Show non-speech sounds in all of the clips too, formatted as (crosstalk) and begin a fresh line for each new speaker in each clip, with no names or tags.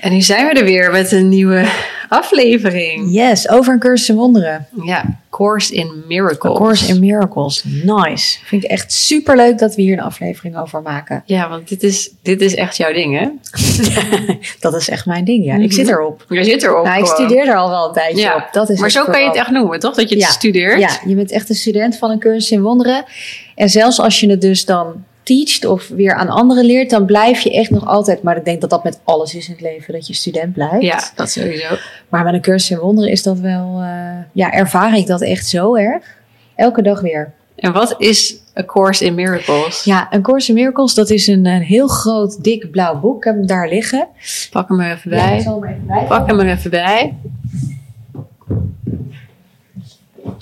En nu zijn we er weer met een nieuwe aflevering.
Yes, over een cursus in wonderen.
Ja, Course in Miracles.
Een course in miracles. Nice. Vind ik echt super leuk dat we hier een aflevering over maken.
Ja, want dit is, dit is echt jouw ding, hè?
dat is echt mijn ding, ja. Ik
Mhm.
zit erop.
Je zit erop.
Nou, ik
gewoon.
studeer er al wel een tijdje
Ja,
op. Dat is
Maar zo kan je het echt noemen, toch? Dat je het
Ja,
studeert.
Ja, je bent echt een student van een cursus in wonderen. En zelfs als je het dus dan teacht of weer aan anderen leert, dan blijf je echt nog altijd. Maar ik denk dat dat met alles is in het leven, dat je student blijft.
Ja, dat sowieso.
Maar met een cursus in wonderen is dat wel. eh, ja, ervaar ik dat echt zo erg. Elke dag weer.
En wat is A Course in Miracles?
Ja, een Course in Miracles, dat is een, een heel groot, dik blauw boek. Ik heb hem daar liggen.
Pak hem er even
Ja,
bij.
ik zal hem even bij.
Pak hem er even bij.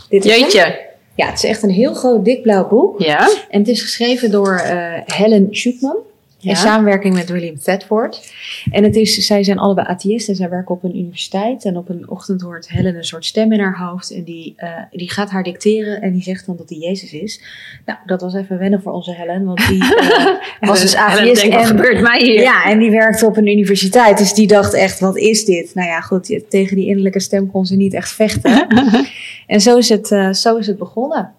Dit is hem.
Jeetje.
Ja, het is echt een heel groot, dik blauw boek.
Ja.
En het is geschreven door eh, Helen Schukman. In
ja.
samenwerking met William Thetford. En het is, zij zijn allebei atheïsten en zij werken op een universiteit. En op een ochtend hoort Helen een soort stem in haar hoofd. En die, eh, die gaat haar dicteren en die zegt dan dat die Jezus is. Nou, dat was even wennen voor onze Helen. Want die
(laughs)
eh, was dus
En dan
atheïst.
denk ik, wat
en-
gebeurt mij hier?
ja, en die werkte op een universiteit. Dus die dacht echt, wat is dit? Nou ja, goed, je- tegen die innerlijke stem kon ze niet echt
(laughs)
vechten. en zo is het, eh, zo is het begonnen.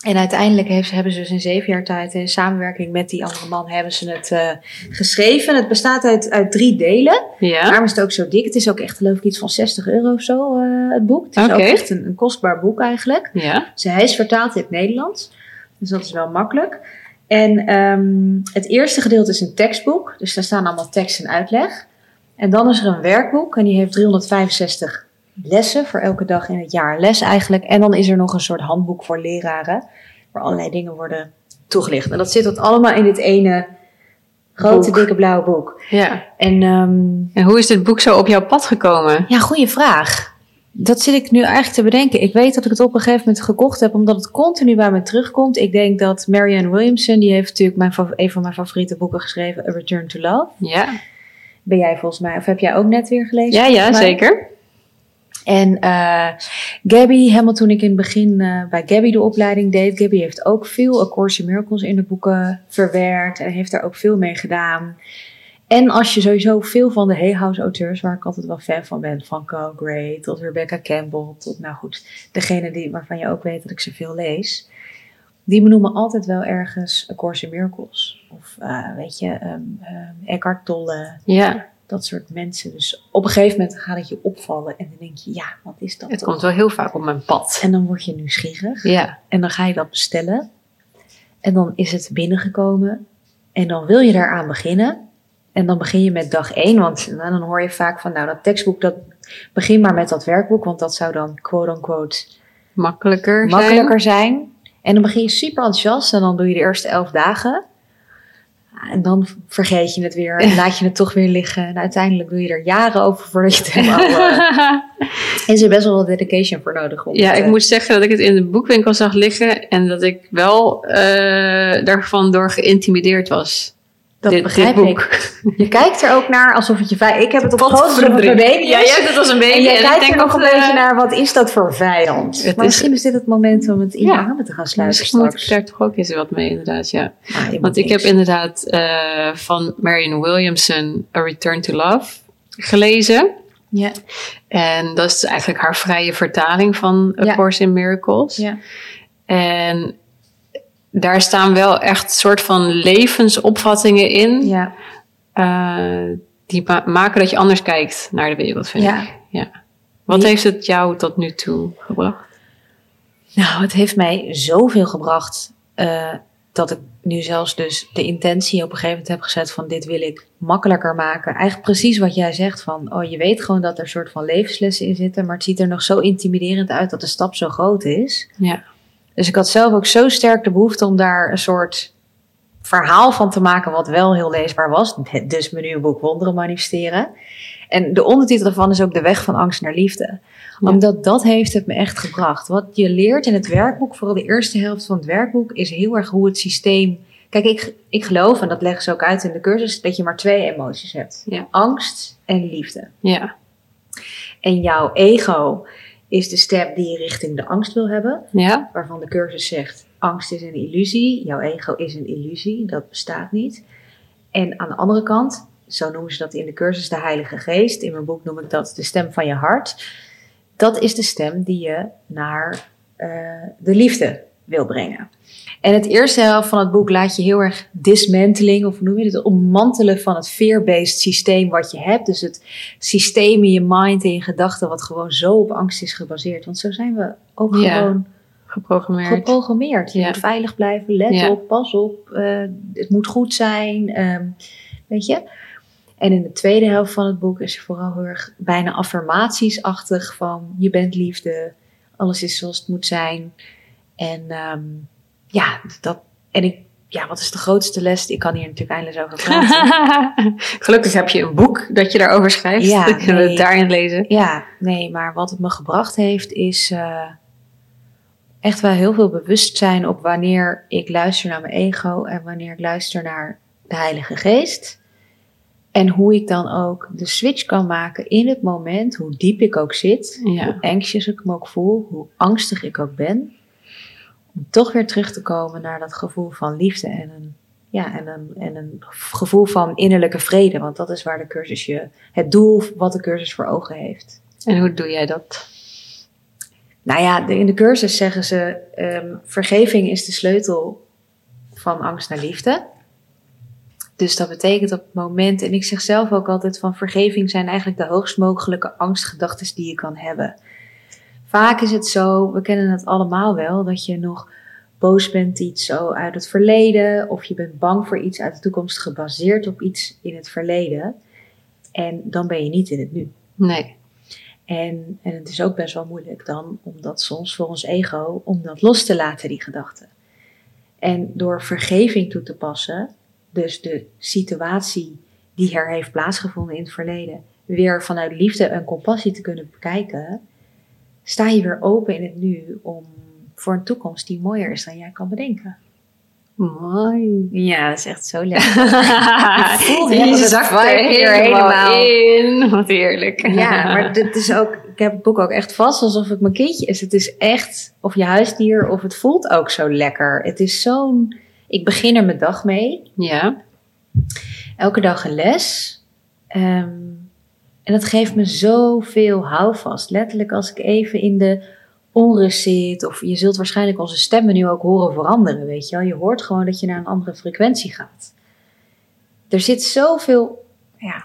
En uiteindelijk heeft, ze- hebben ze dus in zeven jaar tijd in samenwerking met die andere man hebben ze het eh, geschreven. Het bestaat uit, uit drie delen.
Ja.
Daarom is het ook zo dik. Het is ook echt geloof ik iets van 60 euro of zo, eh, het boek. Het is
Oké.
ook echt een, een kostbaar boek eigenlijk.
Ja.
Dus hij is vertaald in het Nederlands. Dus dat is wel makkelijk. En ehm, het eerste gedeelte is een tekstboek. Dus daar staan allemaal tekst en uitleg. En dan is er een werkboek. En die heeft 365 lessen voor elke dag in het jaar. een Les eigenlijk. En dan is er nog een soort handboek voor leraren. Waar allerlei dingen worden toegelicht. En dat zit dat allemaal in dit ene grote
Boek.
dikke blauwe boek.
ja.
En ehm,
En hoe is dit boek zo op jouw pad gekomen?
ja, goede vraag. Dat zit ik nu eigenlijk te bedenken. Ik weet dat ik het op een gegeven moment gekocht heb, omdat het continu bij me terugkomt. Ik denk dat Marianne Williamson, die heeft natuurlijk mijn, fa- een van mijn favoriete boeken geschreven, A Return to Love.
Ja.
Ben jij volgens mij, of heb jij ook net weer gelezen?
Ja, ja,
volgens mij?
zeker.
En eh, Gabby, helemaal toen ik in het begin eh, bij Gabby de opleiding deed. Gabby heeft ook veel A Course in Miracles in de boeken verwerkt. En heeft daar ook veel mee gedaan. En als je sowieso veel van de Hay House auteurs, waar ik altijd wel fan van ben. Van Carl Gray tot Rebecca Campbell. Tot nou goed, degene die, waarvan je ook weet dat ik ze veel lees. Die benoemen altijd wel ergens A Course in Miracles. Of eh, weet je, ehm, ehm, Eckhart Tolle
Ja.
dat soort mensen. Dus op een gegeven moment gaat het je opvallen en dan denk je, ja, wat is dat?
Het
toch?
komt wel heel vaak op mijn pad.
En dan word je nieuwsgierig
Ja.
en dan ga je dat bestellen. En dan is het binnengekomen en dan wil je daaraan beginnen. En dan begin je met dag één, want nou, dan hoor je vaak van, nou dat tekstboek, dat, begin maar met dat werkboek, want dat zou dan quote-unquote
makkelijker zijn.
makkelijker zijn. En dan begin je super enthousiast en dan doe je de eerste elf dagen. Ah, En dan vergeet je het weer
(laughs)
en laat je het toch weer liggen. En uiteindelijk doe je er jaren over voordat
(laughs)
je het helemaal... eh, is er best wel wat dedication voor nodig. Om
ja,
het,
ik
eh,
moet zeggen dat ik het in de boekwinkel zag liggen en dat ik wel eh, daarvan door geïntimideerd was.
dat
dit,
begrijp
dit
ik.
boek. (laughs)
Je kijkt er ook naar alsof het je... vij- Ik heb het op het
Wat
grootste van
verdriet.
mijn baby.
Ja, jij hebt het als een baby.
En jij
ik
kijkt
denk
er nog een
dat, eh,
beetje naar, wat is dat voor vijand?
Het
maar
is-
misschien is dit het moment om het in
Ja.
je armen te gaan sluiten
Misschien Dus moet
straks.
ik daar toch ook eens wat mee, inderdaad. Ja.
Ah, je moet
Want ik heb
niks.
inderdaad eh, van Marion Williamson A Return to Love gelezen.
Ja,
En dat is eigenlijk haar vrije vertaling van A
Ja.
Course in Miracles.
ja.
En daar staan wel echt soort van levensopvattingen in.
ja.
eh, die ma- maken dat je anders kijkt naar de wereld, vind
Ja.
ik. Ja. Wat
Die-
heeft het jou tot nu toe gebracht?
Nou, het heeft mij zoveel gebracht eh, dat ik nu zelfs dus de intentie op een gegeven moment heb gezet van dit wil ik makkelijker maken. Eigenlijk precies wat jij zegt van, oh je weet gewoon dat er een soort van levenslessen in zitten, maar het ziet er nog zo intimiderend uit dat de stap zo groot is.
Ja.
Dus ik had zelf ook zo sterk de behoefte om daar een soort (laughs) verhaal van te maken wat wel heel leesbaar was. Dus mijn nieuwe boek Wonderen manifesteren. En de ondertitel daarvan is ook De Weg van Angst naar Liefde.
Ja.
Omdat dat heeft het me echt gebracht. Wat je leert in het werkboek, vooral de eerste helft van het werkboek, is heel erg hoe het systeem. Kijk, ik, ik geloof, en dat leggen ze ook uit in de cursus, dat je maar twee emoties hebt:
Ja.
angst en liefde.
Ja,
En jouw ego is de step die je richting de angst wil hebben,
ja,
waarvan de cursus zegt: angst is een illusie, jouw ego is een illusie, dat bestaat niet. En aan de andere kant, zo noemen ze dat in de cursus de Heilige Geest, in mijn boek noem ik dat de stem van je hart. Dat is de stem die je naar eh, de liefde wil brengen. En het eerste helft van het boek laat je heel erg dismanteling, of hoe noem je het, het ommantelen van het fear-based systeem wat je hebt. Dus het systeem in je mind en je gedachten, wat gewoon zo op angst is gebaseerd. Want zo zijn we ook
Ja.
gewoon
geprogrammeerd.
geprogrammeerd. Je
Ja.
moet veilig blijven, let
Ja.
op, pas op, eh, het moet goed zijn, ehm, weet je. En in de tweede helft van het boek is er vooral heel erg bijna affirmatiesachtig van je bent liefde, alles is zoals het moet zijn. En ehm, ja, dat, en ik, ja, wat is de grootste les? Ik kan hier natuurlijk eindeloos over praten.
(laughs) Gelukkig heb je een boek dat je daarover schrijft.
Ja,
Dan kunnen we
nee.
het daarin lezen.
Ja, nee, maar wat het me gebracht heeft is eh, echt wel heel veel bewustzijn op wanneer ik luister naar mijn ego en wanneer ik luister naar de Heilige Geest. En hoe ik dan ook de switch kan maken in het moment, hoe diep ik ook zit,
Ja.
hoe anxious ik me ook voel, hoe angstig ik ook ben. Om toch weer terug te komen naar dat gevoel van liefde en een, ja, en een, en een gevoel van innerlijke vrede. Want dat is waar de cursus je, het doel wat de cursus voor ogen heeft.
En hoe doe jij dat?
Nou ja, de- in de cursus zeggen ze: ehm, vergeving is de sleutel van angst naar liefde. Dus dat betekent op het moment, en ik zeg zelf ook altijd van vergeving zijn eigenlijk de hoogst mogelijke angstgedachten die je kan hebben. Vaak is het zo, we kennen het allemaal wel, dat je nog boos bent iets zo uit het verleden, of je bent bang voor iets uit de toekomst gebaseerd op iets in het verleden. En dan ben je niet in het nu.
Nee.
En, en het is ook best wel moeilijk dan om dat soms voor ons ego, om dat los te laten, die gedachten. En door vergeving toe te passen, dus de situatie die er heeft plaatsgevonden in het verleden, weer vanuit liefde en compassie te kunnen bekijken, sta je weer open in het nu om voor een toekomst die mooier is dan jij kan bedenken. (laughs)
Mooi.
Ja, dat is echt zo (laughs) lekker. voel
Je
het
zakt
vibe
er
hier helemaal.
helemaal in. Wat heerlijk.
Ja,
(laughs)
maar dit is ook, ik heb het boek ook echt vast alsof het mijn kindje is. Het is echt, of je huisdier, of het voelt ook zo lekker. Het is zo'n, ik begin er mijn dag mee.
Ja.
Elke dag een les. Ehm, en dat geeft me zoveel houvast. Letterlijk als ik even in de onrust zit. Of je zult waarschijnlijk onze stemmen nu ook horen veranderen, weet je wel. Je hoort gewoon dat je naar een andere frequentie gaat. Er zit zoveel ja,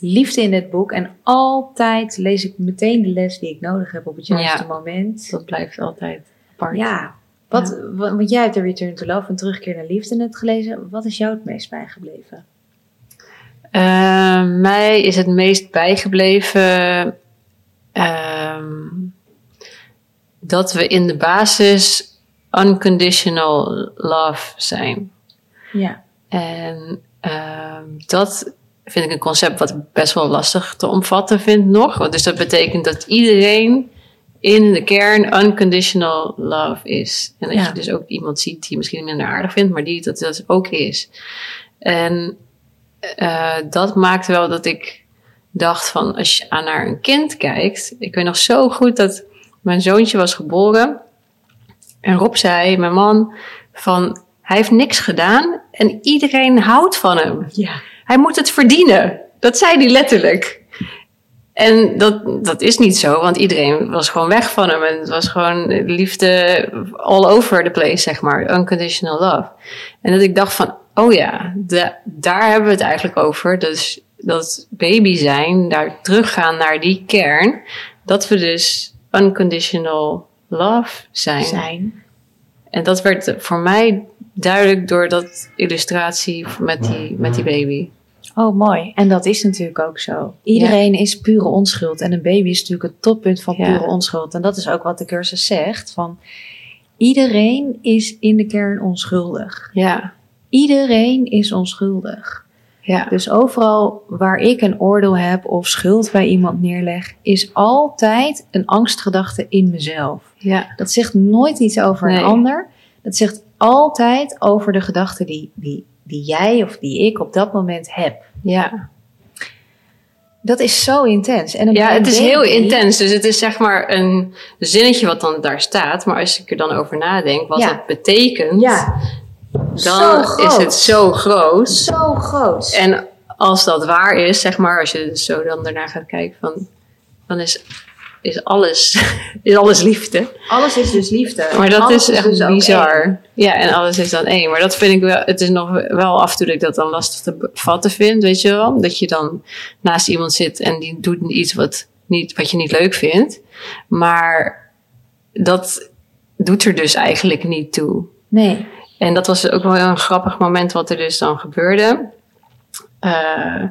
liefde in dit boek. En altijd lees ik meteen de les die ik nodig heb op het juiste
Ja.
moment.
Dat blijft altijd apart.
Ja, wat, wa- want jij hebt de Return to Love en Terugkeer naar Liefde net gelezen. Wat is jou het meest bijgebleven?
Eh, mij is het meest bijgebleven ehm, dat we in de basis unconditional love zijn.
Ja.
En ehm, dat vind ik een concept wat ik best wel lastig te omvatten vind nog. Want dus dat betekent dat iedereen in de kern unconditional love is. En dat
Ja.
je dus ook iemand ziet die je misschien minder aardig vindt, maar die dat, dat ook is. En eh, dat maakt wel dat ik dacht van als je aan naar een kind kijkt. Ik weet nog zo goed dat mijn zoontje was geboren. En Rob zei, mijn man, van hij heeft niks gedaan en iedereen houdt van hem.
Ja.
Hij moet het verdienen. Dat zei hij letterlijk. En dat, dat is niet zo, want iedereen was gewoon weg van hem. En het was gewoon liefde all over the place, zeg maar. Unconditional love. En dat ik dacht van, oh ja, da- daar hebben we het eigenlijk over. Dus dat baby zijn, daar teruggaan naar die kern. Dat we dus unconditional love zijn.
Zijn.
En dat werd voor mij duidelijk door dat illustratie met die, met die baby.
Oh, mooi. En dat is natuurlijk ook zo. Iedereen is pure onschuld. En een baby is natuurlijk het toppunt van
Ja.
pure onschuld. En dat is ook wat de cursus zegt. Van iedereen is in de kern onschuldig.
Ja,
Iedereen is onschuldig.
Ja.
Dus overal waar ik een oordeel heb of schuld bij iemand neerleg, is altijd een angstgedachte in mezelf.
Ja.
Dat zegt nooit iets over
Nee.
een ander. Dat zegt altijd over de gedachten die, die, die jij of die ik op dat moment heb.
Ja.
Dat is zo intens. En een
ja,
klein
het is heel
baby-
intens. Dus het is zeg maar een zinnetje wat dan daar staat. Maar als ik er dan over nadenk, wat
Ja.
dat betekent,
Ja, zo
dan
groot.
is het zo groot.
zo groot.
En als dat waar is, zeg maar, als je dus zo dan daarna gaat kijken, van, dan is, is, alles, (laughs) is alles liefde.
Alles is dus liefde.
Maar dat
Alles
is echt
dus ook één.
bizar. Ja, en alles is dan één. Maar dat vind ik wel, het is nog wel af en toe dat ik dat dan lastig te bevatten vind, weet je wel. Dat je dan naast iemand zit en die doet iets wat, niet, wat je niet leuk vindt. Maar dat doet er dus eigenlijk niet toe.
Nee.
En dat was ook wel een grappig moment wat er dus dan gebeurde. Eh,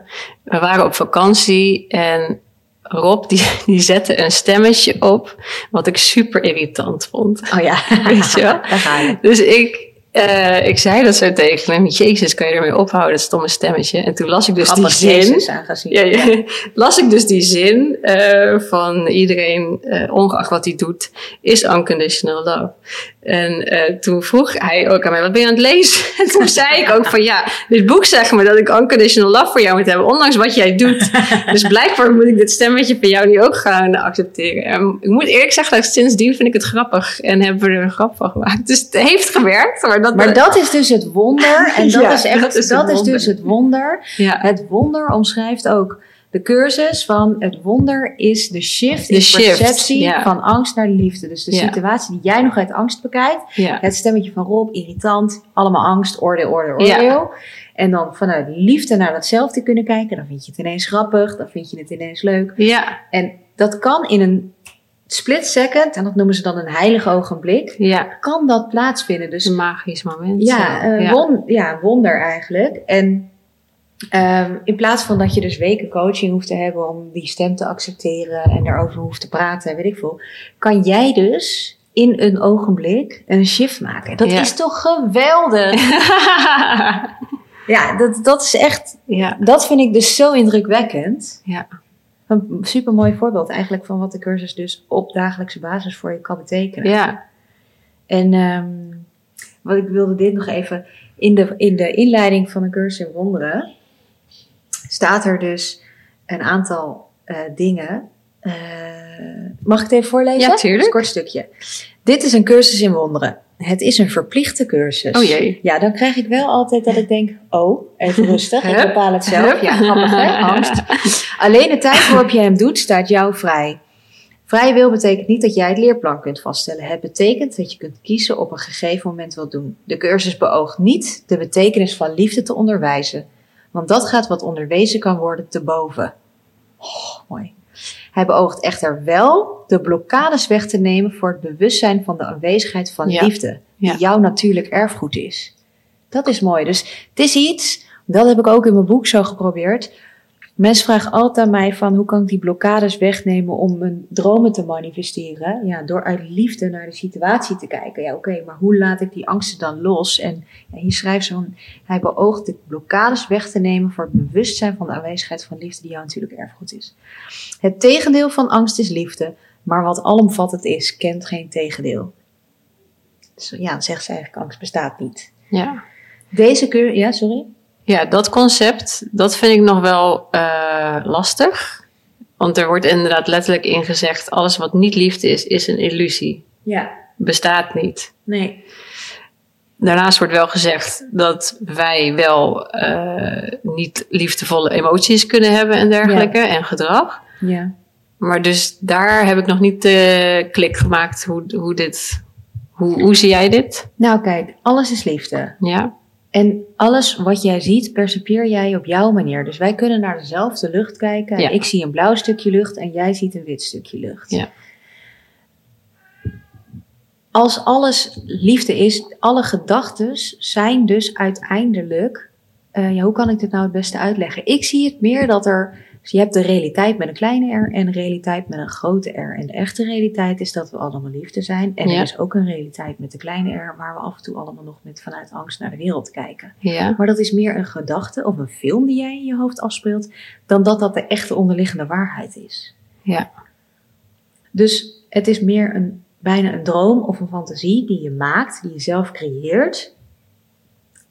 we waren op vakantie en Rob die, (laughs) die zette een stemmetje op wat ik super irritant vond.
Oh ja.
(laughs) Weet je wel?
Daar ga je.
(laughs) Dus ik, eh, ik zei dat zo tegen hem. Jezus, kan je ermee ophouden, dat stomme stemmetje. En toen las ik dus
Appels
die zin.
Jezus aangezien.
Ja, ja. (laughs) Las ik dus die zin eh, van iedereen, eh, ongeacht wat hij doet, is unconditional love. En eh, toen vroeg hij ook aan mij, wat ben je aan het lezen? (laughs) En toen zei ik ook van, ja, dit boek zegt me dat ik unconditional love voor jou moet hebben, ondanks wat
(laughs)
jij doet. Dus blijkbaar moet ik dit stemmetje van jou nu ook gaan accepteren. En ik moet eerlijk zeggen, dat ik sindsdien vind ik het grappig en hebben we er een grap van gemaakt. Dus het heeft gewerkt, maar dat... eh,
Maar dat is dus het
(laughs)
wonder. En dat
Ja,
is echt,
dat
dat
is
is,
het wonder.
dus het wonder.
ja.
Het wonder omschrijft ook de cursus van het wonder is de shift
De
in
shift,
perceptie
ja.
van angst naar de liefde. Dus de
Ja.
situatie die jij nog uit angst bekijkt.
Ja.
Het stemmetje van Rob, irritant, allemaal angst, oordeel, oordeel,
Ja.
oordeel. En dan vanuit liefde naar datzelfde kunnen kijken. Dan vind je het ineens grappig, dan vind je het ineens leuk.
Ja,
En dat kan in een split second, en dat noemen ze dan een heilig ogenblik,
ja.
kan dat plaatsvinden.
Het is
Dus
een magisch moment.
ja,
zo.
eh, won- ja, wonder eigenlijk. En ehm, in plaats van dat je dus weken coaching hoeft te hebben om die stem te accepteren en daarover hoeft te praten, en weet ik veel, kan jij dus in een ogenblik een shift maken. Dat
Ja.
is toch geweldig? ja, dat, dat is echt,
(laughs) ja.
dat vind ik dus zo indrukwekkend.
Ja.
Een super mooi voorbeeld eigenlijk van wat de cursus dus op dagelijkse basis voor je kan betekenen.
Ja.
En ehm, wat ik wilde dit nog even in de, in de inleiding van de cursus in wonderen staat er dus een aantal eh, dingen. Eh, mag ik het even voorlezen?
Ja, tuurlijk.
Het is Een kort stukje. Dit is een cursus in wonderen. Het is een verplichte cursus.
Oh jee.
Ja, dan krijg ik wel altijd dat ik denk, oh, even rustig, ik
(laughs) Hup,
bepaal het zelf.
hup.
Ja, grappig hè, angst. Alleen de tijd waarop je hem doet, staat jou vrij. Vrije wil betekent niet dat jij het leerplan kunt vaststellen. Het betekent dat je kunt kiezen op een gegeven moment wat doen. De cursus beoogt niet de betekenis van liefde te onderwijzen, want dat gaat wat onderwezen kan worden te boven. Oh, mooi. Hij beoogt echter wel de blokkades weg te nemen voor het bewustzijn van de aanwezigheid van
Ja.
liefde, die
Ja.
jouw natuurlijk erfgoed is. Dat is mooi. Dus het is iets, dat heb ik ook in mijn boek zo geprobeerd. Mensen vragen altijd aan mij van hoe kan ik die blokkades wegnemen om mijn dromen te manifesteren? Ja, door uit liefde naar de situatie te kijken. Ja, oké, maar hoe laat ik die angsten dan los? En ja, hier schrijft zo'n, hij beoogt de blokkades weg te nemen voor het bewustzijn van de aanwezigheid van liefde die jou natuurlijk erfgoed is. Het tegendeel van angst is liefde, maar wat alomvattend is, kent geen tegendeel. Dus ja, dan zegt ze eigenlijk angst bestaat niet.
Ja.
Deze keur, ja, sorry?
ja, dat concept, dat vind ik nog wel eh, lastig. Want er wordt inderdaad letterlijk in gezegd, alles wat niet liefde is, is een illusie.
Ja,
Bestaat niet.
nee.
Daarnaast wordt wel gezegd dat wij wel eh, niet liefdevolle emoties kunnen hebben en dergelijke en gedrag.
Ja.
Maar dus daar heb ik nog niet de klik gemaakt hoe, hoe dit, hoe, hoe zie jij dit?
Nou kijk, alles is liefde.
Ja,
En alles wat jij ziet, percepeer jij op jouw manier. Dus wij kunnen naar dezelfde lucht kijken. En
Ja.
Ik zie een blauw stukje lucht en jij ziet een wit stukje lucht.
Ja.
Als alles liefde is, alle gedachten zijn dus uiteindelijk. eh, ja, hoe kan ik dit nou het beste uitleggen? Ik zie het meer dat er Dus je hebt de realiteit met een kleine R en een realiteit met een grote R. En de echte realiteit is dat we allemaal liefde zijn. En
Ja.
er is ook een realiteit met de kleine R, waar we af en toe allemaal nog met vanuit angst naar de wereld kijken.
Ja.
Maar dat is meer een gedachte of een film die jij in je hoofd afspeelt, dan dat dat de echte onderliggende waarheid is.
Ja.
Dus het is meer een, bijna een droom of een fantasie die je maakt, die je zelf creëert.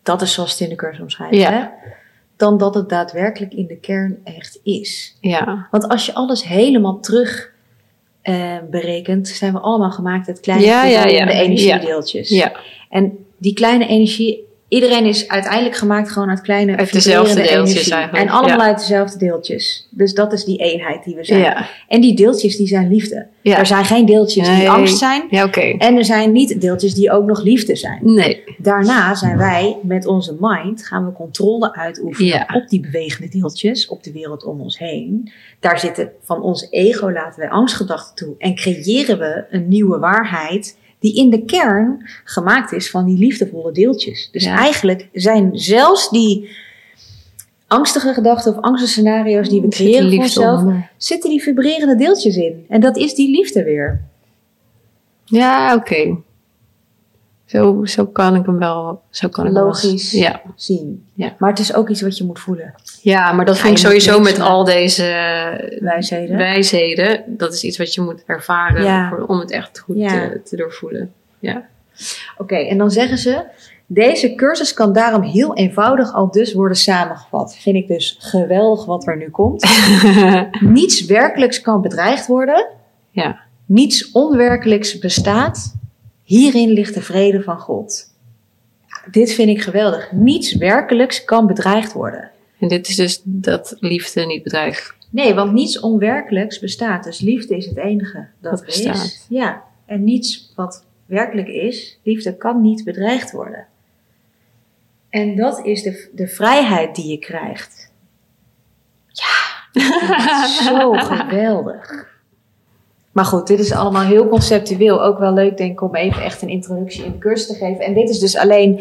Dat is zoals Tindercurs omschrijft,
Ja.
hè? Dan dat het daadwerkelijk in de kern echt is.
Ja.
Want als je alles helemaal terug eh, berekent, zijn we allemaal gemaakt uit kleine
Ja, ja, ja.
de energiedeeltjes.
Ja.
En die kleine energie, iedereen is uiteindelijk gemaakt gewoon uit kleine
Uit dezelfde
vibrerende
deeltjes
energie.
eigenlijk,
En allemaal
ja.
uit dezelfde deeltjes. Dus dat is die eenheid die we zijn.
Ja.
En die deeltjes die zijn liefde.
Ja.
Er zijn geen deeltjes
Nee.
die angst zijn.
Ja, oké.
En er zijn niet deeltjes die ook nog liefde zijn.
Nee.
Daarna zijn wij met onze mind gaan we controle uitoefenen
Ja.
op die bewegende deeltjes, op de wereld om ons heen. Daar zitten van ons ego laten wij angstgedachten toe en creëren we een nieuwe waarheid die in de kern gemaakt is van die liefdevolle deeltjes. Dus
Ja.
eigenlijk zijn zelfs die angstige gedachten of angstscenario's die we creëren voor onszelf, zitten die vibrerende deeltjes in. En dat is die liefde weer.
Ja, oké. Zo, zo kan ik hem wel. Zo kan ik hem wel-
Logisch.
Ja.
Zien.
Ja.
Maar het is ook iets wat je moet voelen.
ja, maar dat
Ja,
vind ik
je moet
sowieso
niks
met
doen.
al deze
Wijsheden.
wijsheden. Dat is iets wat je moet ervaren
Ja.
voor- om het echt goed
Ja.
te, te doorvoelen.
Oké, en dan zeggen ze: deze cursus kan daarom heel eenvoudig al dus worden samengevat. Vind ik dus geweldig wat er nu komt. Niets werkelijks kan bedreigd worden.
(laughs) Ja.
Niets onwerkelijks bestaat. Hierin ligt de vrede van God. Dit vind ik geweldig. Niets werkelijks kan bedreigd worden.
en dit is dus dat liefde niet
(laughs)
bedreigt.
Nee, want niets onwerkelijks bestaat. Dus liefde is het enige dat,
Dat
er
bestaat.
is. Ja, en niets wat werkelijk is, liefde kan niet bedreigd worden. En dat is de, de vrijheid die je krijgt. Ja,
(laughs)
zo geweldig. Maar goed, dit is allemaal heel conceptueel. Ook wel leuk, denk ik, om even echt een introductie in de cursus te geven. En dit is dus alleen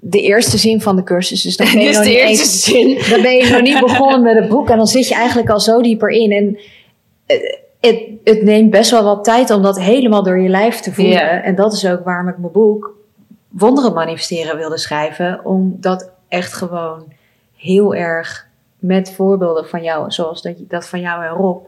de eerste zin van de cursus. Dus
(laughs)
dan ben je
Dit is
nog
de
niet
eerste
eens-
zin.
dan ben je nog niet begonnen met het boek en dan zit je eigenlijk al zo dieper in. En eh, het, het neemt best wel wat tijd om dat helemaal door je lijf te voelen.
Ja.
En dat is ook waarom ik mijn boek Wonderen Manifesteren wilde schrijven. Omdat echt gewoon heel erg met voorbeelden van jou, zoals dat, dat van jou en Rob,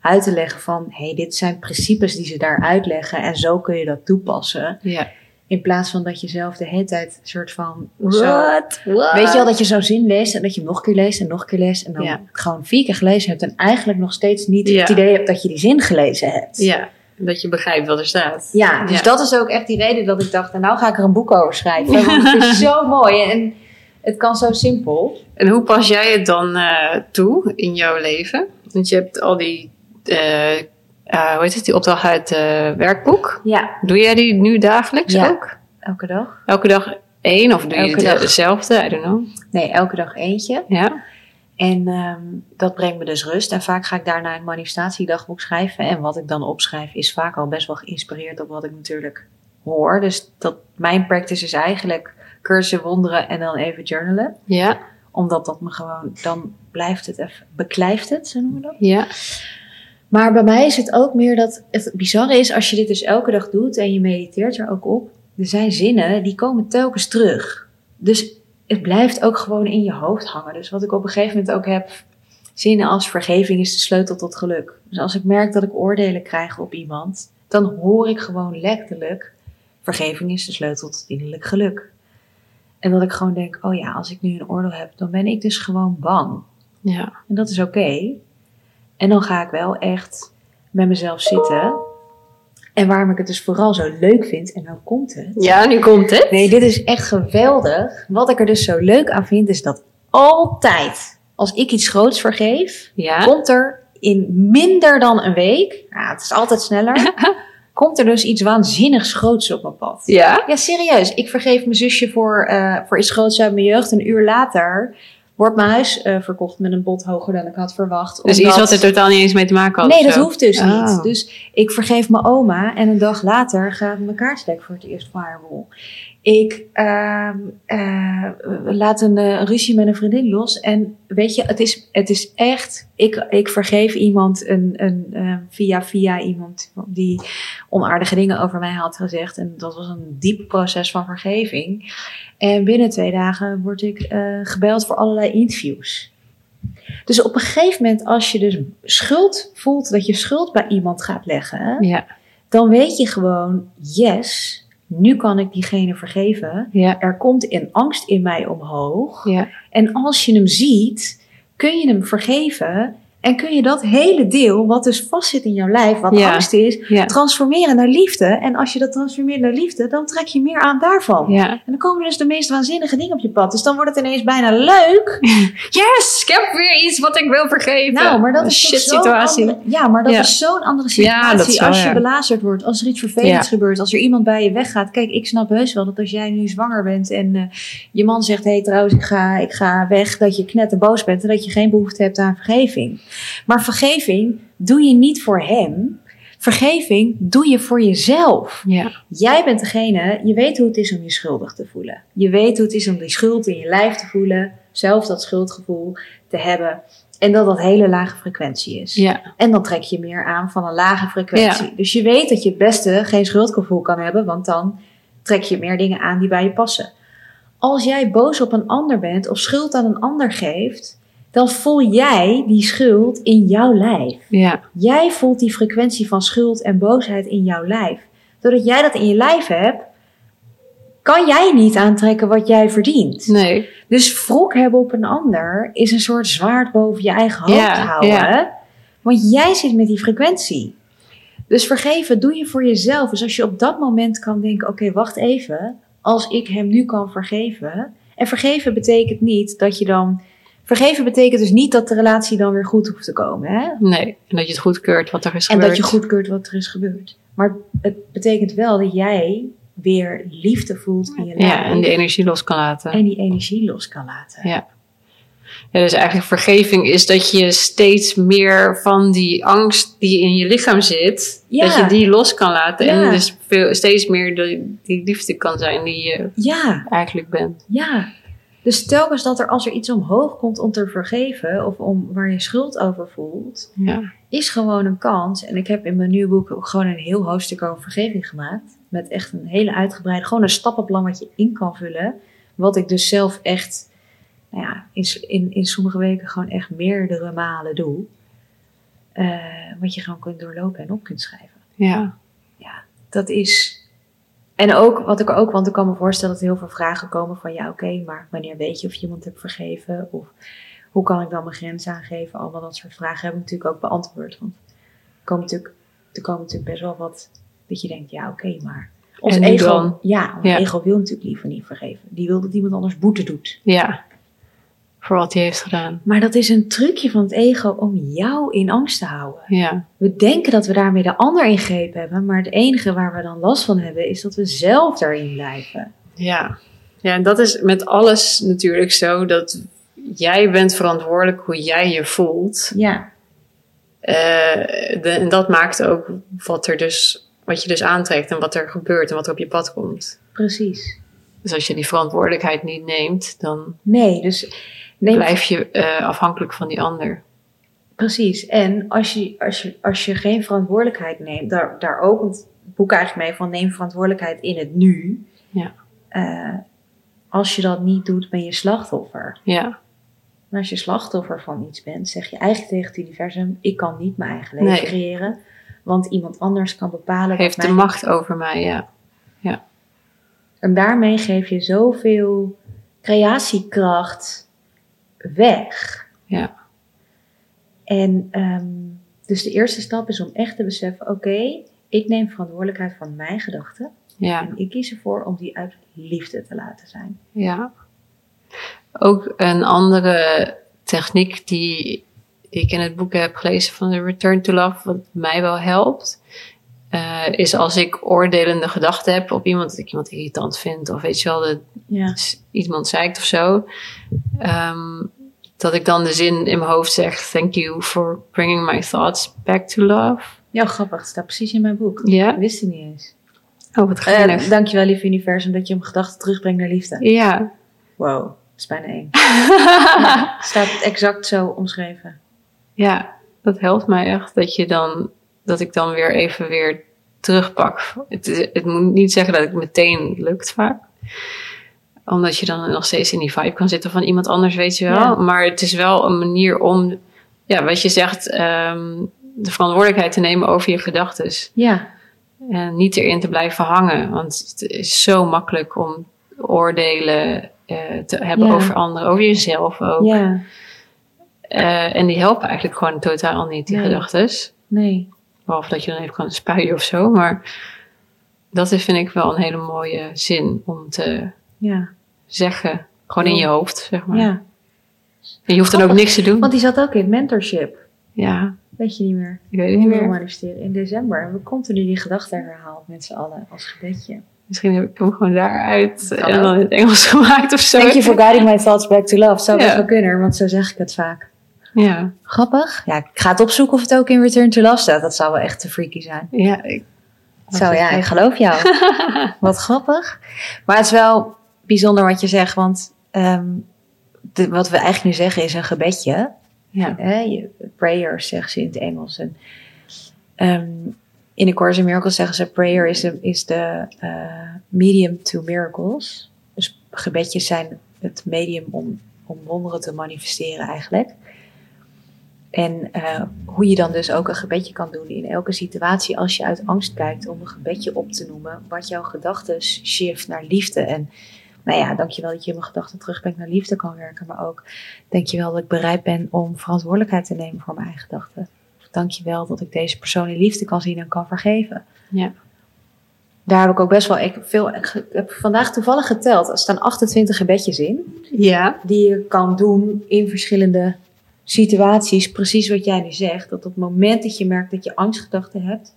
uit te leggen van... hé, hey, dit zijn principes die ze daar uitleggen en zo kun je dat toepassen.
Ja.
In plaats van dat je zelf de hele tijd een soort van... zo-
Wat?
Weet je wel dat je zo'n zin leest en dat je hem nog een keer leest en nog een keer leest en dan
Ja.
gewoon vier keer gelezen hebt en eigenlijk nog steeds niet
Ja.
het idee hebt dat je die zin gelezen hebt.
Ja, dat je begrijpt wat er staat.
Ja, dus
Ja.
dat is ook echt die reden dat ik dacht, nou, nou ga ik er een boek over schrijven, want het (laughs) is zo mooi en het kan zo simpel.
En hoe pas jij het dan eh, toe in jouw leven? Want je hebt al die, eh, eh, hoe heet het, die opdracht uit het werkboek.
Ja,
Doe jij die nu dagelijks
Ja.
ook?
elke dag.
Elke dag één of doe
Elke
je
dag.
het hetzelfde? I don't know.
Nee, elke dag eentje.
Ja,
En ehm, dat brengt me dus rust. En vaak ga ik daarna een manifestatiedagboek schrijven. En wat ik dan opschrijf is vaak al best wel geïnspireerd op wat ik natuurlijk hoor. Dus dat, mijn practice is eigenlijk cursus wonderen en dan even journalen.
ja,
Omdat dat me gewoon, dan blijft het even, beklijft het, zo noemen we dat.
ja.
Maar bij mij is het ook meer dat het bizarre is als je dit dus elke dag doet en je mediteert er ook op. Er zijn zinnen die komen telkens terug. Dus het blijft ook gewoon in je hoofd hangen. Dus wat ik op een gegeven moment ook heb, zinnen als vergeving is de sleutel tot geluk. Dus als ik merk dat ik oordelen krijg op iemand, dan hoor ik gewoon letterlijk vergeving is de sleutel tot innerlijk geluk. En dat ik gewoon denk, oh ja, als ik nu een oordeel heb, dan ben ik dus gewoon bang.
ja.
En dat is oké. En dan ga ik wel echt met mezelf zitten. En waarom ik het dus vooral zo leuk vind, en nou komt het.
Ja, nu komt het.
Nee, dit is echt geweldig. Wat ik er dus zo leuk aan vind, is dat altijd, als ik iets groots vergeef,
Ja,
komt er in minder dan een week, nou, het is altijd sneller, komt er dus iets waanzinnigs groots op mijn pad.
ja.
Ja, serieus. Ik vergeef mijn zusje voor, eh, voor iets groots uit mijn jeugd. Een uur later wordt mijn huis eh, verkocht met een bod hoger dan ik had verwacht.
Dus
omdat-
iets wat er totaal niet eens mee te maken had.
Nee,
of
dat
zo.
hoeft dus
Oh.
niet. Dus ik vergeef mijn oma en een dag later gaat mijn kaartslek voor het eerst firewall. Ik ehm, eh, laat een eh, ruzie met een vriendin los. En weet je, het is, het is echt. Ik, ik vergeef iemand een, een, eh, via via iemand die onaardige dingen over mij had gezegd. En dat was een diep proces van vergeving. En binnen twee dagen word ik eh, gebeld voor allerlei interviews. Dus op een gegeven moment, als je dus schuld voelt, dat je schuld bij iemand gaat leggen
Ja,
dan weet je gewoon, yes, nu kan ik diegene vergeven.
ja,
Er komt een angst in mij omhoog.
ja.
En als je hem ziet, kun je hem vergeven. En kun je dat hele deel, wat dus vastzit in jouw lijf, wat
Ja.
angst is,
Ja,
transformeren naar liefde. En als je dat transformeert naar liefde, dan trek je meer aan daarvan.
ja.
En dan komen dus de meest waanzinnige dingen op je pad. Dus dan wordt het ineens bijna leuk.
Yes, ik heb weer iets wat ik wil vergeven.
Nou, maar dat
Een
is toch
shit
zo'n
situatie.
andere- ja, maar dat
Ja.
is zo'n andere
Ja, dat
situatie
is wel,
als je
ja.
belazerd wordt, als er iets vervelends gebeurt, als er iemand bij je weggaat. Kijk, ik snap heus wel dat als jij nu zwanger bent en eh, je man zegt, hé hey, trouwens, ik ga, ik ga weg, dat je knetterboos bent en dat je geen behoefte hebt aan vergeving. Maar vergeving doe je niet voor hem. Vergeving doe je voor jezelf.
Ja,
Jij bent degene, je weet hoe het is om je schuldig te voelen. Je weet hoe het is om die schuld in je lijf te voelen, zelf dat schuldgevoel te hebben. En dat dat hele lage frequentie is.
ja,
En dan trek je meer aan van een lage frequentie.
Ja.
Dus je weet dat je het beste geen schuldgevoel kan hebben, want dan trek je meer dingen aan die bij je passen. Als jij boos op een ander bent of schuld aan een ander geeft, dan voel jij die schuld in jouw lijf.
ja,
Jij voelt die frequentie van schuld en boosheid in jouw lijf. Doordat jij dat in je lijf hebt, kan jij niet aantrekken wat jij verdient.
nee,
Dus wrok hebben op een ander is een soort zwaard boven je eigen hoofd
Ja,
houden.
ja.
Want jij zit met die frequentie. Dus vergeven doe je voor jezelf. Dus als je op dat moment kan denken: oké, wacht even. Als ik hem nu kan vergeven. En vergeven betekent niet dat je dan. Vergeven betekent dus niet dat de relatie dan weer goed hoeft te komen. Hè?
nee. En dat je het goedkeurt wat er is
En
gebeurd.
dat je goedkeurt wat er is gebeurd. Maar het betekent wel dat jij weer liefde voelt in je lijf.
Ja, en die e- energie los kan laten.
en die energie los kan laten.
Ja. Ja, dus eigenlijk vergeving is dat je steeds meer van die angst die in je lichaam zit,
Ja.
dat je die los kan laten.
Ja.
En dus veel, steeds meer de, die liefde kan zijn die je
Ja,
eigenlijk bent.
ja. Dus telkens dat er als er iets omhoog komt om te vergeven of om waar je schuld over voelt,
Ja.
is gewoon een kans. En ik heb in mijn nieuwe boek ook gewoon een heel hoofdstuk over vergeving gemaakt. Met echt een hele uitgebreide, gewoon een stappenplan wat je in kan vullen. Wat ik dus zelf echt, nou ja, in, s- in, in sommige weken gewoon echt meerdere malen doe. Eh, wat je gewoon kunt doorlopen en op kunt schrijven.
Ja.
Dat is. En ook wat ik ook, want ik kan me voorstellen dat er heel veel vragen komen van ja, oké, maar wanneer weet je of je iemand hebt vergeven? Of hoe kan ik dan mijn grens aangeven? Allemaal dat soort vragen heb ik natuurlijk ook beantwoord. Want er komen natuurlijk, er komen natuurlijk best wel wat dat je denkt, ja, oké, maar. Ons
En nu
ego,
dan?
ja, ons
Ja.
ego wil natuurlijk liever niet vergeven. Die wil dat iemand anders boete doet.
ja. Voor wat hij heeft gedaan.
Maar dat is een trucje van het ego om jou in angst te houden.
Ja.
We denken dat we daarmee de ander in greep hebben, maar het enige waar we dan last van hebben is dat we zelf daarin blijven.
Ja. Ja, en dat is met alles natuurlijk zo dat jij bent verantwoordelijk hoe jij je voelt.
Ja,
Eh, de- en dat maakt ook wat, er dus, wat je dus aantrekt en wat er gebeurt en wat er op je pad komt.
precies.
Dus als je die verantwoordelijkheid niet neemt, dan
Nee, dus nee,
blijf je eh, afhankelijk van die ander.
precies. En als je, als, je, als je geen verantwoordelijkheid neemt, daar, daar ook het boek eigenlijk mee van neem verantwoordelijkheid in het nu.
Ja.
Eh, als je dat niet doet, ben je slachtoffer.
Ja,
En als je slachtoffer van iets bent, zeg je eigenlijk tegen het universum: ik kan niet mijn eigen leven
Nee.
creëren, want iemand anders kan bepalen wat
heeft de
mijn
macht over mij, ja.
En daarmee geef je zoveel creatiekracht weg.
Ja.
En ehm, dus de eerste stap is om echt te beseffen: oké, ik neem verantwoordelijkheid voor mijn gedachten.
Ja,
En ik kies ervoor om die uit liefde te laten zijn.
ja. Ook een andere techniek die ik in het boek heb gelezen van de Return to Love, wat mij wel helpt, eh, is als ik oordelende gedachten heb op iemand, dat ik iemand irritant vind, of weet je wel, dat
Ja.
s- iemand zeikt of zo. ehm, dat ik dan de zin in mijn hoofd zeg: Thank you for bringing my thoughts back to love.
Ja, grappig. Het staat precies in mijn boek.
Ja.
Ik wist het niet eens.
Oh, wat
je
geinig.
dankjewel, lieve universum, dat je hem gedachten terugbrengt naar liefde.
ja.
Wow, dat is bijna één. Staat het exact zo omschreven.
ja, dat helpt mij echt. Dat, je dan, dat ik dan weer even weer terugpak. Het, is- het moet niet zeggen dat het meteen lukt vaak. Omdat je dan nog steeds in die vibe kan zitten van iemand anders, weet je wel.
Ja.
Maar het is wel een manier om, ja, wat je zegt, ehm, de verantwoordelijkheid te nemen over je gedachtes.
Ja,
En eh, niet erin te blijven hangen. Want het is zo makkelijk om oordelen eh, te hebben
Ja.
over anderen, over jezelf ook.
ja,
Eh, en die helpen eigenlijk gewoon totaal niet, die
Nee.
gedachtes.
nee.
Behalve dat je dan even kan spuien of zo. Maar dat is, vind ik wel een hele mooie zin om te
Ja,
zeggen. Gewoon in
Ja.
je hoofd, zeg maar.
ja.
En je hoeft dan ook
Grappig,
niks te doen.
Want die zat ook in mentorship.
Ja,
Weet je niet meer.
ik weet het
Niet
niet
meer
meer.
manifesteren. dus In december hebben we continu die gedachten herhaald met z'n allen als gebedje.
Misschien heb ik hem gewoon daaruit eh,
Kan
en dan
ook.
in het Engels (laughs) gemaakt of zo.
Thank you for guiding my thoughts back to love. Zou
Ja.
best wel kunnen, want zo zeg ik het vaak.
Ja,
Grappig. Ja, ik ga het opzoeken of het ook in Return to Love staat. Dat zou wel echt te freaky zijn.
ja ik,
Zo ja, ik geloof (laughs) jou. wat grappig. Maar het is wel bijzonder wat je zegt, want ehm, de- wat we eigenlijk nu zeggen is een gebedje.
ja.
hè, je- prayers zeggen ze in het Engels. En, ehm, in de Course in Miracles zeggen ze prayer is, de- is de eh, medium to miracles. Dus gebedjes zijn het medium om, om wonderen te manifesteren eigenlijk. En eh, hoe je dan dus ook een gebedje kan doen in elke situatie als je uit angst kijkt om een gebedje op te noemen. Wat jouw gedachten shift naar liefde. En nou ja, dankjewel dat je mijn gedachten terugbrengt naar liefde kan werken. Maar ook dankjewel dat ik bereid ben om verantwoordelijkheid te nemen voor mijn eigen gedachten. Of dankjewel dat ik deze persoon in liefde kan zien en kan vergeven.
Ja.
Daar heb ik ook best wel ik heb veel. Ik heb vandaag toevallig geteld. Er staan 28 gebedjes in
Ja.
die je kan doen in verschillende situaties. Precies wat jij nu zegt. Dat op het moment dat je merkt dat je angstgedachten hebt,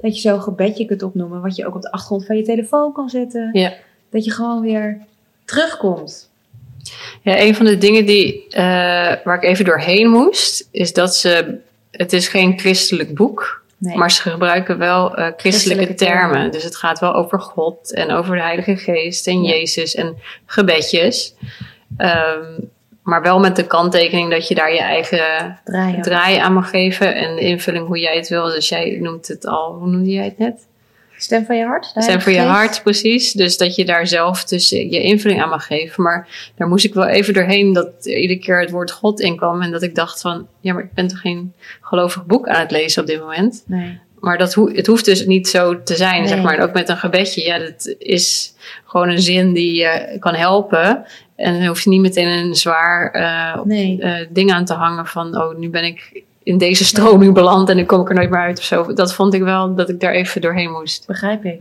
dat je zo'n gebedje kunt opnoemen. Wat je ook op de achtergrond van je telefoon kan zetten.
Ja.
Dat je gewoon weer terugkomt.
Ja, een van de dingen die, eh, waar ik even doorheen moest, is dat ze. Het is geen christelijk boek,
Nee.
maar ze gebruiken wel eh, christelijke,
Christelijke
termen.
termen.
Dus het gaat wel over God en over de Heilige Geest en
Ja.
Jezus en gebedjes. Ehm, maar wel met de kanttekening dat je daar je eigen
draaien.
draai aan mag geven en de invulling hoe jij het wil. Dus jij noemt het al, hoe noemde jij het net?
Stem van je hart.
Dat zijn voor je
Heilige Geest.
hart, precies. Dus dat je daar zelf dus je invulling aan mag geven. Maar daar moest ik wel even doorheen dat er iedere keer het woord God in kwam. En dat ik dacht van, ja, maar ik ben toch geen gelovig boek aan het lezen op dit moment.
Nee.
Maar dat hoe het hoeft dus niet zo te zijn,
Nee.
zeg maar. En ook met een gebedje, ja, dat is gewoon een zin die je kan helpen. En dan hoef je niet meteen een zwaar eh,
Nee.
eh, ding aan te hangen van, oh, nu ben ik in deze stroming beland en dan kom ik er nooit meer uit of zo. Dat vond ik wel dat ik daar even doorheen moest.
Begrijp ik.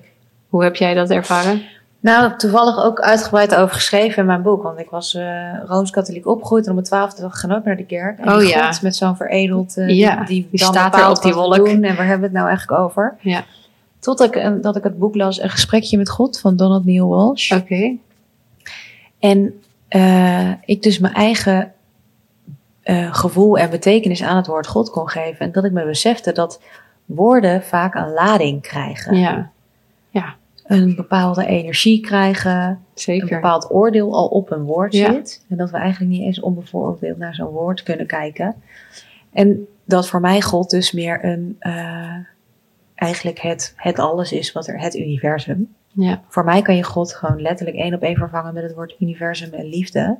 Hoe heb jij dat ervaren?
Nou, toevallig ook uitgebreid over geschreven in mijn boek. Want ik was eh rooms-katholiek opgegroeid en op mijn twaalfde dag gaan ook naar de kerk. En
Oh
die
ja.
God met zo'n veredeld, eh,
Ja,
die,
die
dan
staat
bepaalt
daar op die
wat we
wolk.
Doen, en waar hebben we het nou eigenlijk over?
Ja.
Tot ik, een- dat ik het boek las, Een gesprekje met God van Donald Neil Walsh.
Oké.
En eh, ik dus mijn eigen eh, gevoel en betekenis aan het woord God kon geven. En dat ik me besefte dat woorden vaak een lading krijgen.
Ja,
Een bepaalde energie krijgen. een
zeker.
bepaald oordeel al op een woord
Ja.
zit. En dat we eigenlijk niet eens onbevooroordeeld naar zo'n woord kunnen kijken. En dat voor mij God dus meer een, eh, eigenlijk het, het alles is wat er, het universum.
Ja,
Voor mij kan je God gewoon letterlijk één op één vervangen met het woord universum en liefde.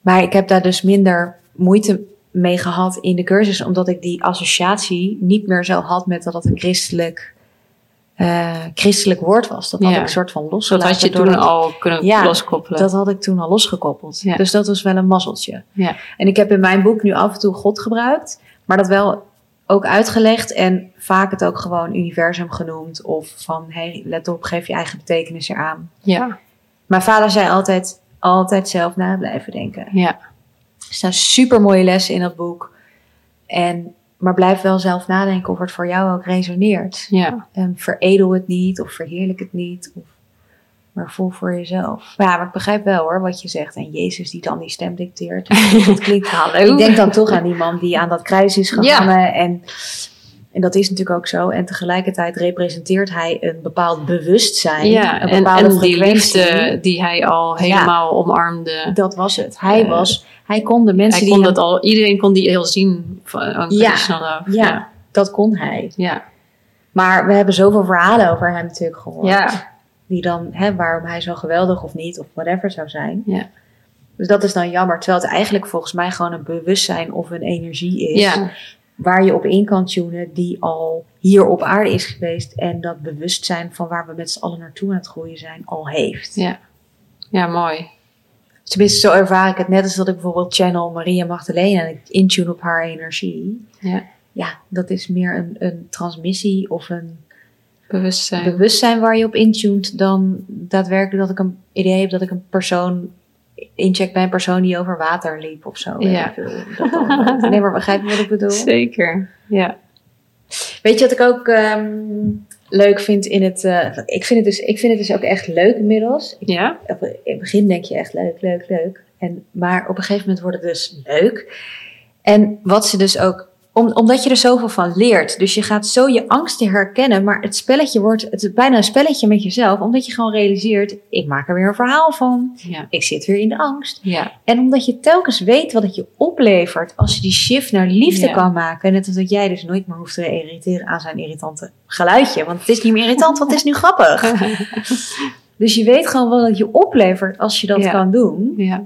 Maar ik heb daar dus minder moeite mee gehad in de cursus, omdat ik die associatie niet meer zo had met dat het een christelijk, eh, christelijk woord was. Dat had
Ja.
ik een soort van
dat
losgelaten.
had je toen
doordat-
al kunnen
Ja,
loskoppelen.
dat had ik toen al losgekoppeld.
Ja.
Dus dat was wel een mazzeltje.
Ja.
En ik heb in mijn boek nu af en toe God gebruikt, maar dat wel ook uitgelegd en vaak het ook gewoon universum genoemd. Of van, hé, hey, let op, geef je eigen betekenis eraan.
ja,
Mijn vader zei altijd, altijd zelf na blijven denken.
ja,
Er staan super mooie lessen in dat boek. En, maar blijf wel zelf nadenken of het voor jou ook resoneert.
ja,
En Ehm, veredel het niet of verheerlijk het niet. Of, maar voel voor jezelf. Ja, maar ik begrijp wel hoor wat je zegt. En Jezus die dan die stem (laughs) dicteert. Dus Dat klinkt
Hallo.
Ik denk dan toch aan die man die aan dat kruis is gehangen. En En dat is natuurlijk ook zo. En tegelijkertijd representeert hij een bepaald bewustzijn.
Ja,
een
en,
bepaalde
en die
frequentie.
liefde die hij al helemaal omarmde.
Dat was het. Hij
Eh,
was, hij kon de mensen
Hij
die
kon
hem-
dat al, iedereen kon die heel zien van unconditional love.
ja,
ja.
dat kon hij.
Ja.
Maar we hebben zoveel verhalen over hem natuurlijk gehoord.
ja.
Die dan, hè, waarom hij zo geweldig of niet of whatever zou zijn.
Ja.
Dus dat is dan jammer. Terwijl het eigenlijk volgens mij gewoon een bewustzijn of een energie is.
ja.
Waar je op in kan tunen die al hier op aarde is geweest. En dat bewustzijn van waar we met z'n allen naartoe aan het groeien zijn al heeft.
Ja. Ja, mooi.
Tenminste, zo ervaar ik het. Net als dat ik bijvoorbeeld channel Maria Magdalena en ik intune op haar energie.
Ja.
Ja, dat is meer een, een transmissie of een
Bewustzijn.
bewustzijn waar je op intuned dan daadwerkelijk dat ik een idee heb dat ik een persoon incheck bij een persoon die over water liep of zo. weet
Ja.
ik veel. Dat dan. nee, maar begrijp je wat ik bedoel?
Zeker. Ja.
Weet je wat ik ook ehm, leuk vind in het... eh, ik, vind het dus, ik vind het dus ook echt leuk inmiddels.
Ja?
Op- in het begin denk je echt leuk, leuk, leuk. En, maar op een gegeven moment wordt het dus leuk. En wat ze dus ook... Om, omdat je er zoveel van leert. Dus je gaat zo je angsten herkennen. Maar het spelletje wordt... Het is bijna een spelletje met jezelf. Omdat je gewoon realiseert... Ik maak er weer een verhaal van.
Ja.
Ik zit weer in de angst.
Ja.
En omdat je telkens weet wat het je oplevert als je die shift naar liefde
Ja.
kan maken. Net als dat jij dus nooit meer hoeft te irriteren aan zijn irritante geluidje. Want het is niet meer irritant, want het is nu
(laughs)
grappig. Dus je weet gewoon wat het je oplevert als je dat
Ja.
kan doen.
ja.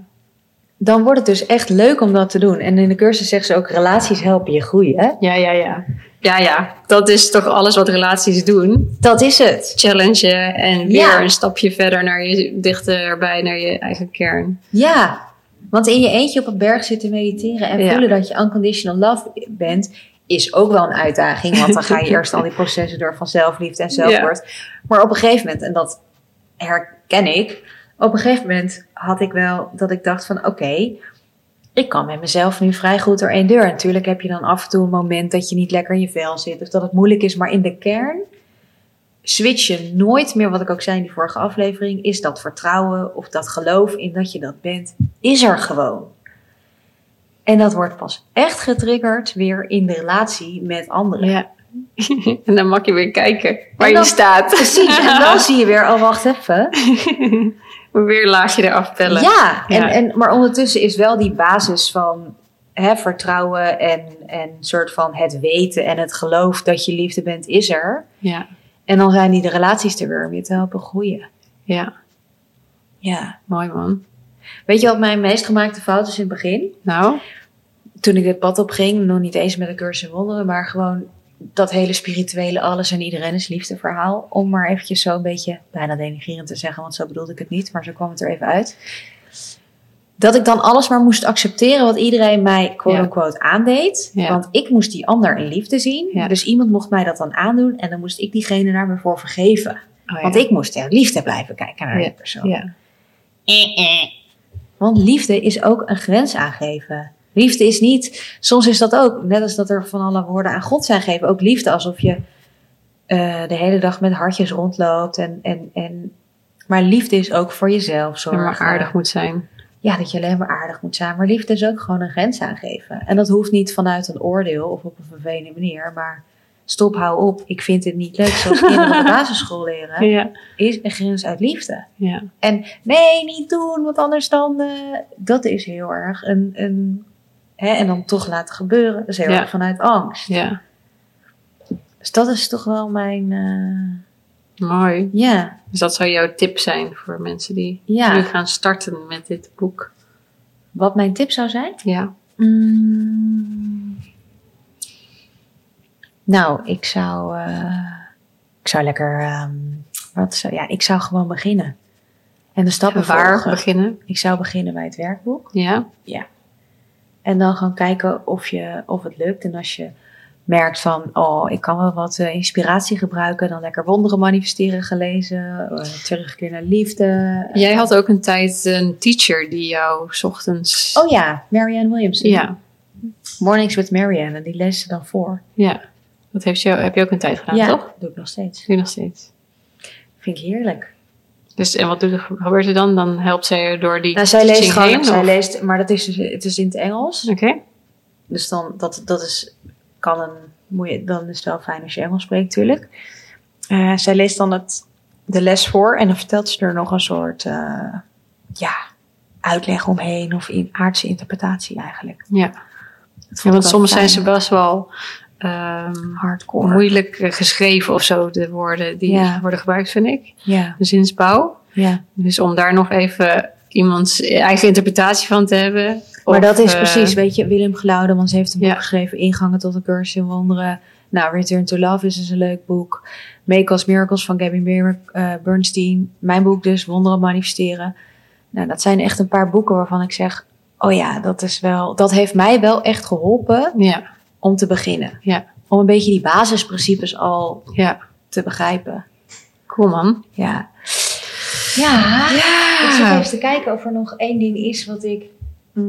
Dan wordt het dus echt leuk om dat te doen. En in de cursus zegt ze ook, relaties helpen je groeien. hè?
Ja, ja, ja. Ja, ja. Dat is toch alles wat relaties doen.
Dat is het.
Challengen en weer
Ja.
een stapje verder naar je, dichterbij naar je eigen kern.
Ja, want in je eentje op een berg zitten mediteren en
Ja.
voelen dat je unconditional love bent, is ook wel een uitdaging. Want dan ga je eerst al die processen door van zelfliefde en zelfwoord. Maar op een gegeven moment, en dat herken ik, op een gegeven moment had ik wel dat ik dacht van oké, ik kan met mezelf nu vrij goed door één deur. En Natuurlijk heb je dan af en toe een moment dat je niet lekker in je vel zit of dat het moeilijk is, maar in de kern switch je nooit meer, wat ik ook zei in die vorige aflevering, is dat vertrouwen of dat geloof in dat je dat bent, is er gewoon. En dat wordt pas echt getriggerd weer in de relatie met anderen.
Ja. (laughs) en dan mag je weer kijken waar
En dan-
je staat.
Precies, en
(laughs)
dan zie je weer, oh wacht even.
weer een laagje eraf pellen.
Ja, en,
Ja.
En, maar ondertussen is wel die basis van hè, vertrouwen en, en soort van het weten en het geloof dat je liefde bent, is er.
Ja.
En dan zijn die de relaties er weer om je te helpen groeien.
Ja.
Ja.
Mooi man.
Weet je wat mijn meest gemaakte fout is in het begin?
Nou.
toen ik dit pad op ging, nog niet eens met een cursus in wonderen, maar gewoon dat hele spirituele alles en iedereen is liefde verhaal. Om maar eventjes zo een beetje bijna denigrerend te zeggen, want zo bedoelde ik het niet, maar zo kwam het er even uit. Dat ik dan alles maar moest accepteren wat iedereen mij quote-unquote aandeed.
Ja.
Want ik moest die ander in liefde zien.
Ja.
Dus iemand mocht mij dat dan aandoen en dan moest ik diegene daar weer voor vergeven.
Oh,
Want
ja.
ik moest uit liefde blijven kijken naar die persoon.
Ja.
Want liefde is ook een grens aangeven. Liefde is niet, soms is dat ook, net als dat er van alle woorden aan God zijn gegeven, ook liefde alsof je eh, de hele dag met hartjes rondloopt. En, en, en, maar liefde is ook voor jezelf
Dat je
zorgen.
maar aardig moet zijn.
Ja, dat je alleen maar aardig moet zijn. Maar liefde is ook gewoon een grens aangeven. En dat hoeft niet vanuit een oordeel of op een vervelende manier, maar stop, hou op, ik vind dit niet leuk. Zoals kinderen op de basisschool leren,
Ja.
is een grens uit liefde.
Ja.
En nee, niet doen, want anders dan... eh, dat is heel erg een... een hè, en dan toch laten gebeuren. Dat is heel
Ja.
erg vanuit angst.
Ja.
Dus dat is toch wel mijn... eh,
Mooi.
ja,
Dus dat zou jouw tip zijn voor mensen die nu
ja.
gaan starten met dit boek.
Wat mijn tip zou zijn?
Ja.
Mm. Nou, ik zou... eh, ik zou lekker... ehm, wat zou, ja, ik zou gewoon beginnen. En de stappen
Waar
volgen.
beginnen?
Ik zou beginnen bij het werkboek.
Ja.
En dan gewoon kijken of, je, of het lukt. En als je merkt van, oh, ik kan wel wat eh, inspiratie gebruiken. Dan lekker wonderen manifesteren gelezen. eh, terugkeer naar liefde.
Jij had ook een tijd een teacher die jou 's ochtends.
Oh ja, Marianne Williams.
ja.
Mornings with Marianne. En die leest ze dan voor.
Ja. Dat heeft jou, heb je ook een tijd gedaan, toch?
dat doe ik nog steeds.
Nu nog steeds.
Vind ik heerlijk.
Dus en wat doet er, gebeurt er dan? Dan helpt zij je door die.
Nou, zij leest
teaching
gewoon,
heen,
zij
of-
leest, maar dat is dus, het is in het Engels.
Oké.
Dus dan, dat, dat is kan een, moet je, dan is het wel fijn als je Engels spreekt, natuurlijk. Eh, zij leest dan het, de les voor en dan vertelt ze er nog een soort eh, ja, uitleg omheen of in, aardse interpretatie eigenlijk.
Ja.
Dat vond
Ja,
ik wel
want soms
fijn.
zijn ze best wel ehm,
hardcore.
moeilijk eh, geschreven of zo, de woorden die
Ja.
worden gebruikt, vind ik.
Ja,
De zinsbouw.
ja.
Dus om daar nog even iemands eigen interpretatie van te hebben.
Maar
Of,
dat is
eh,
precies, weet je, Willem Glaudemans heeft een boek
Ja.
geschreven, Ingangen tot een cursus in wonderen. Nou, Return to Love is dus een leuk boek. Make Us Miracles van Gabby Mir- eh, Bernstein. Mijn boek dus, Wonderen manifesteren. Nou, dat zijn echt een paar boeken waarvan ik zeg, oh ja, dat is wel, dat heeft mij wel echt geholpen
Ja,
om te beginnen.
Ja.
Om een beetje die basisprincipes al
ja.
te begrijpen.
Cool man.
Ja. Ja. Ik zit
Ja.
even te kijken of er nog één ding is wat ik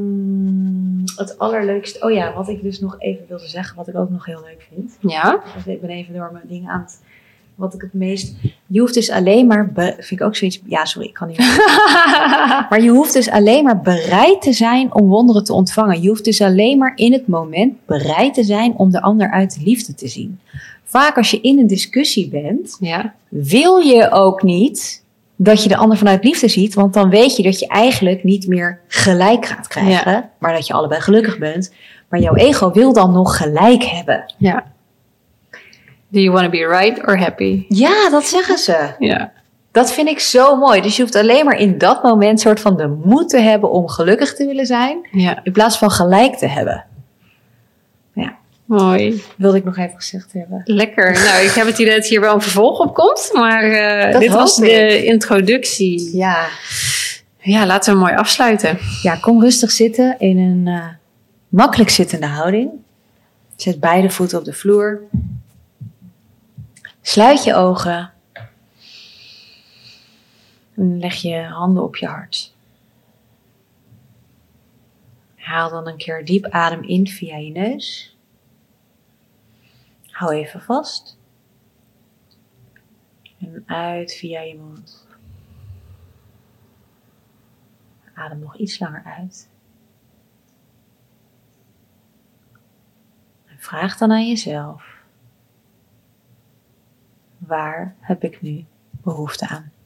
mm, het allerleukste. Oh ja, wat ik dus nog even wilde zeggen, wat ik ook nog heel leuk vind.
Ja.
Dus ik ben even door mijn dingen aan het. Wat ik het meest. Je hoeft dus alleen maar. be- vind ik ook zoiets. Ja, sorry, ik kan niet. meer. Maar je hoeft dus alleen maar bereid te zijn om wonderen te ontvangen. Je hoeft dus alleen maar in het moment bereid te zijn om de ander uit de liefde te zien. Vaak als je in een discussie bent,
ja.
wil je ook niet dat je de ander vanuit liefde ziet, want dan weet je dat je eigenlijk niet meer gelijk gaat krijgen, maar dat je allebei gelukkig bent. Maar jouw ego wil dan nog gelijk hebben.
Ja. Do you want to be right or happy?
Ja, dat zeggen ze.
Ja.
Dat vind ik zo mooi. Dus je hoeft alleen maar in dat moment soort van de moed te hebben om gelukkig te willen zijn,
Ja.
in plaats van gelijk te hebben.
Mooi.
Wilde ik nog even gezegd hebben.
Lekker. Nou, ik heb het idee dat hier wel een vervolg op komt. Maar eh,
Dat
dit
hoop
was
ik.
de introductie.
Ja,
Ja, laten we mooi afsluiten.
ja kom rustig zitten in een eh, makkelijk zittende houding. Zet beide voeten op de vloer. Sluit je ogen. En leg je handen op je hart. Haal dan een keer diep adem in via je neus. Hou even vast. En uit via je mond. Adem nog iets langer uit. En vraag dan aan jezelf: waar heb ik nu behoefte aan?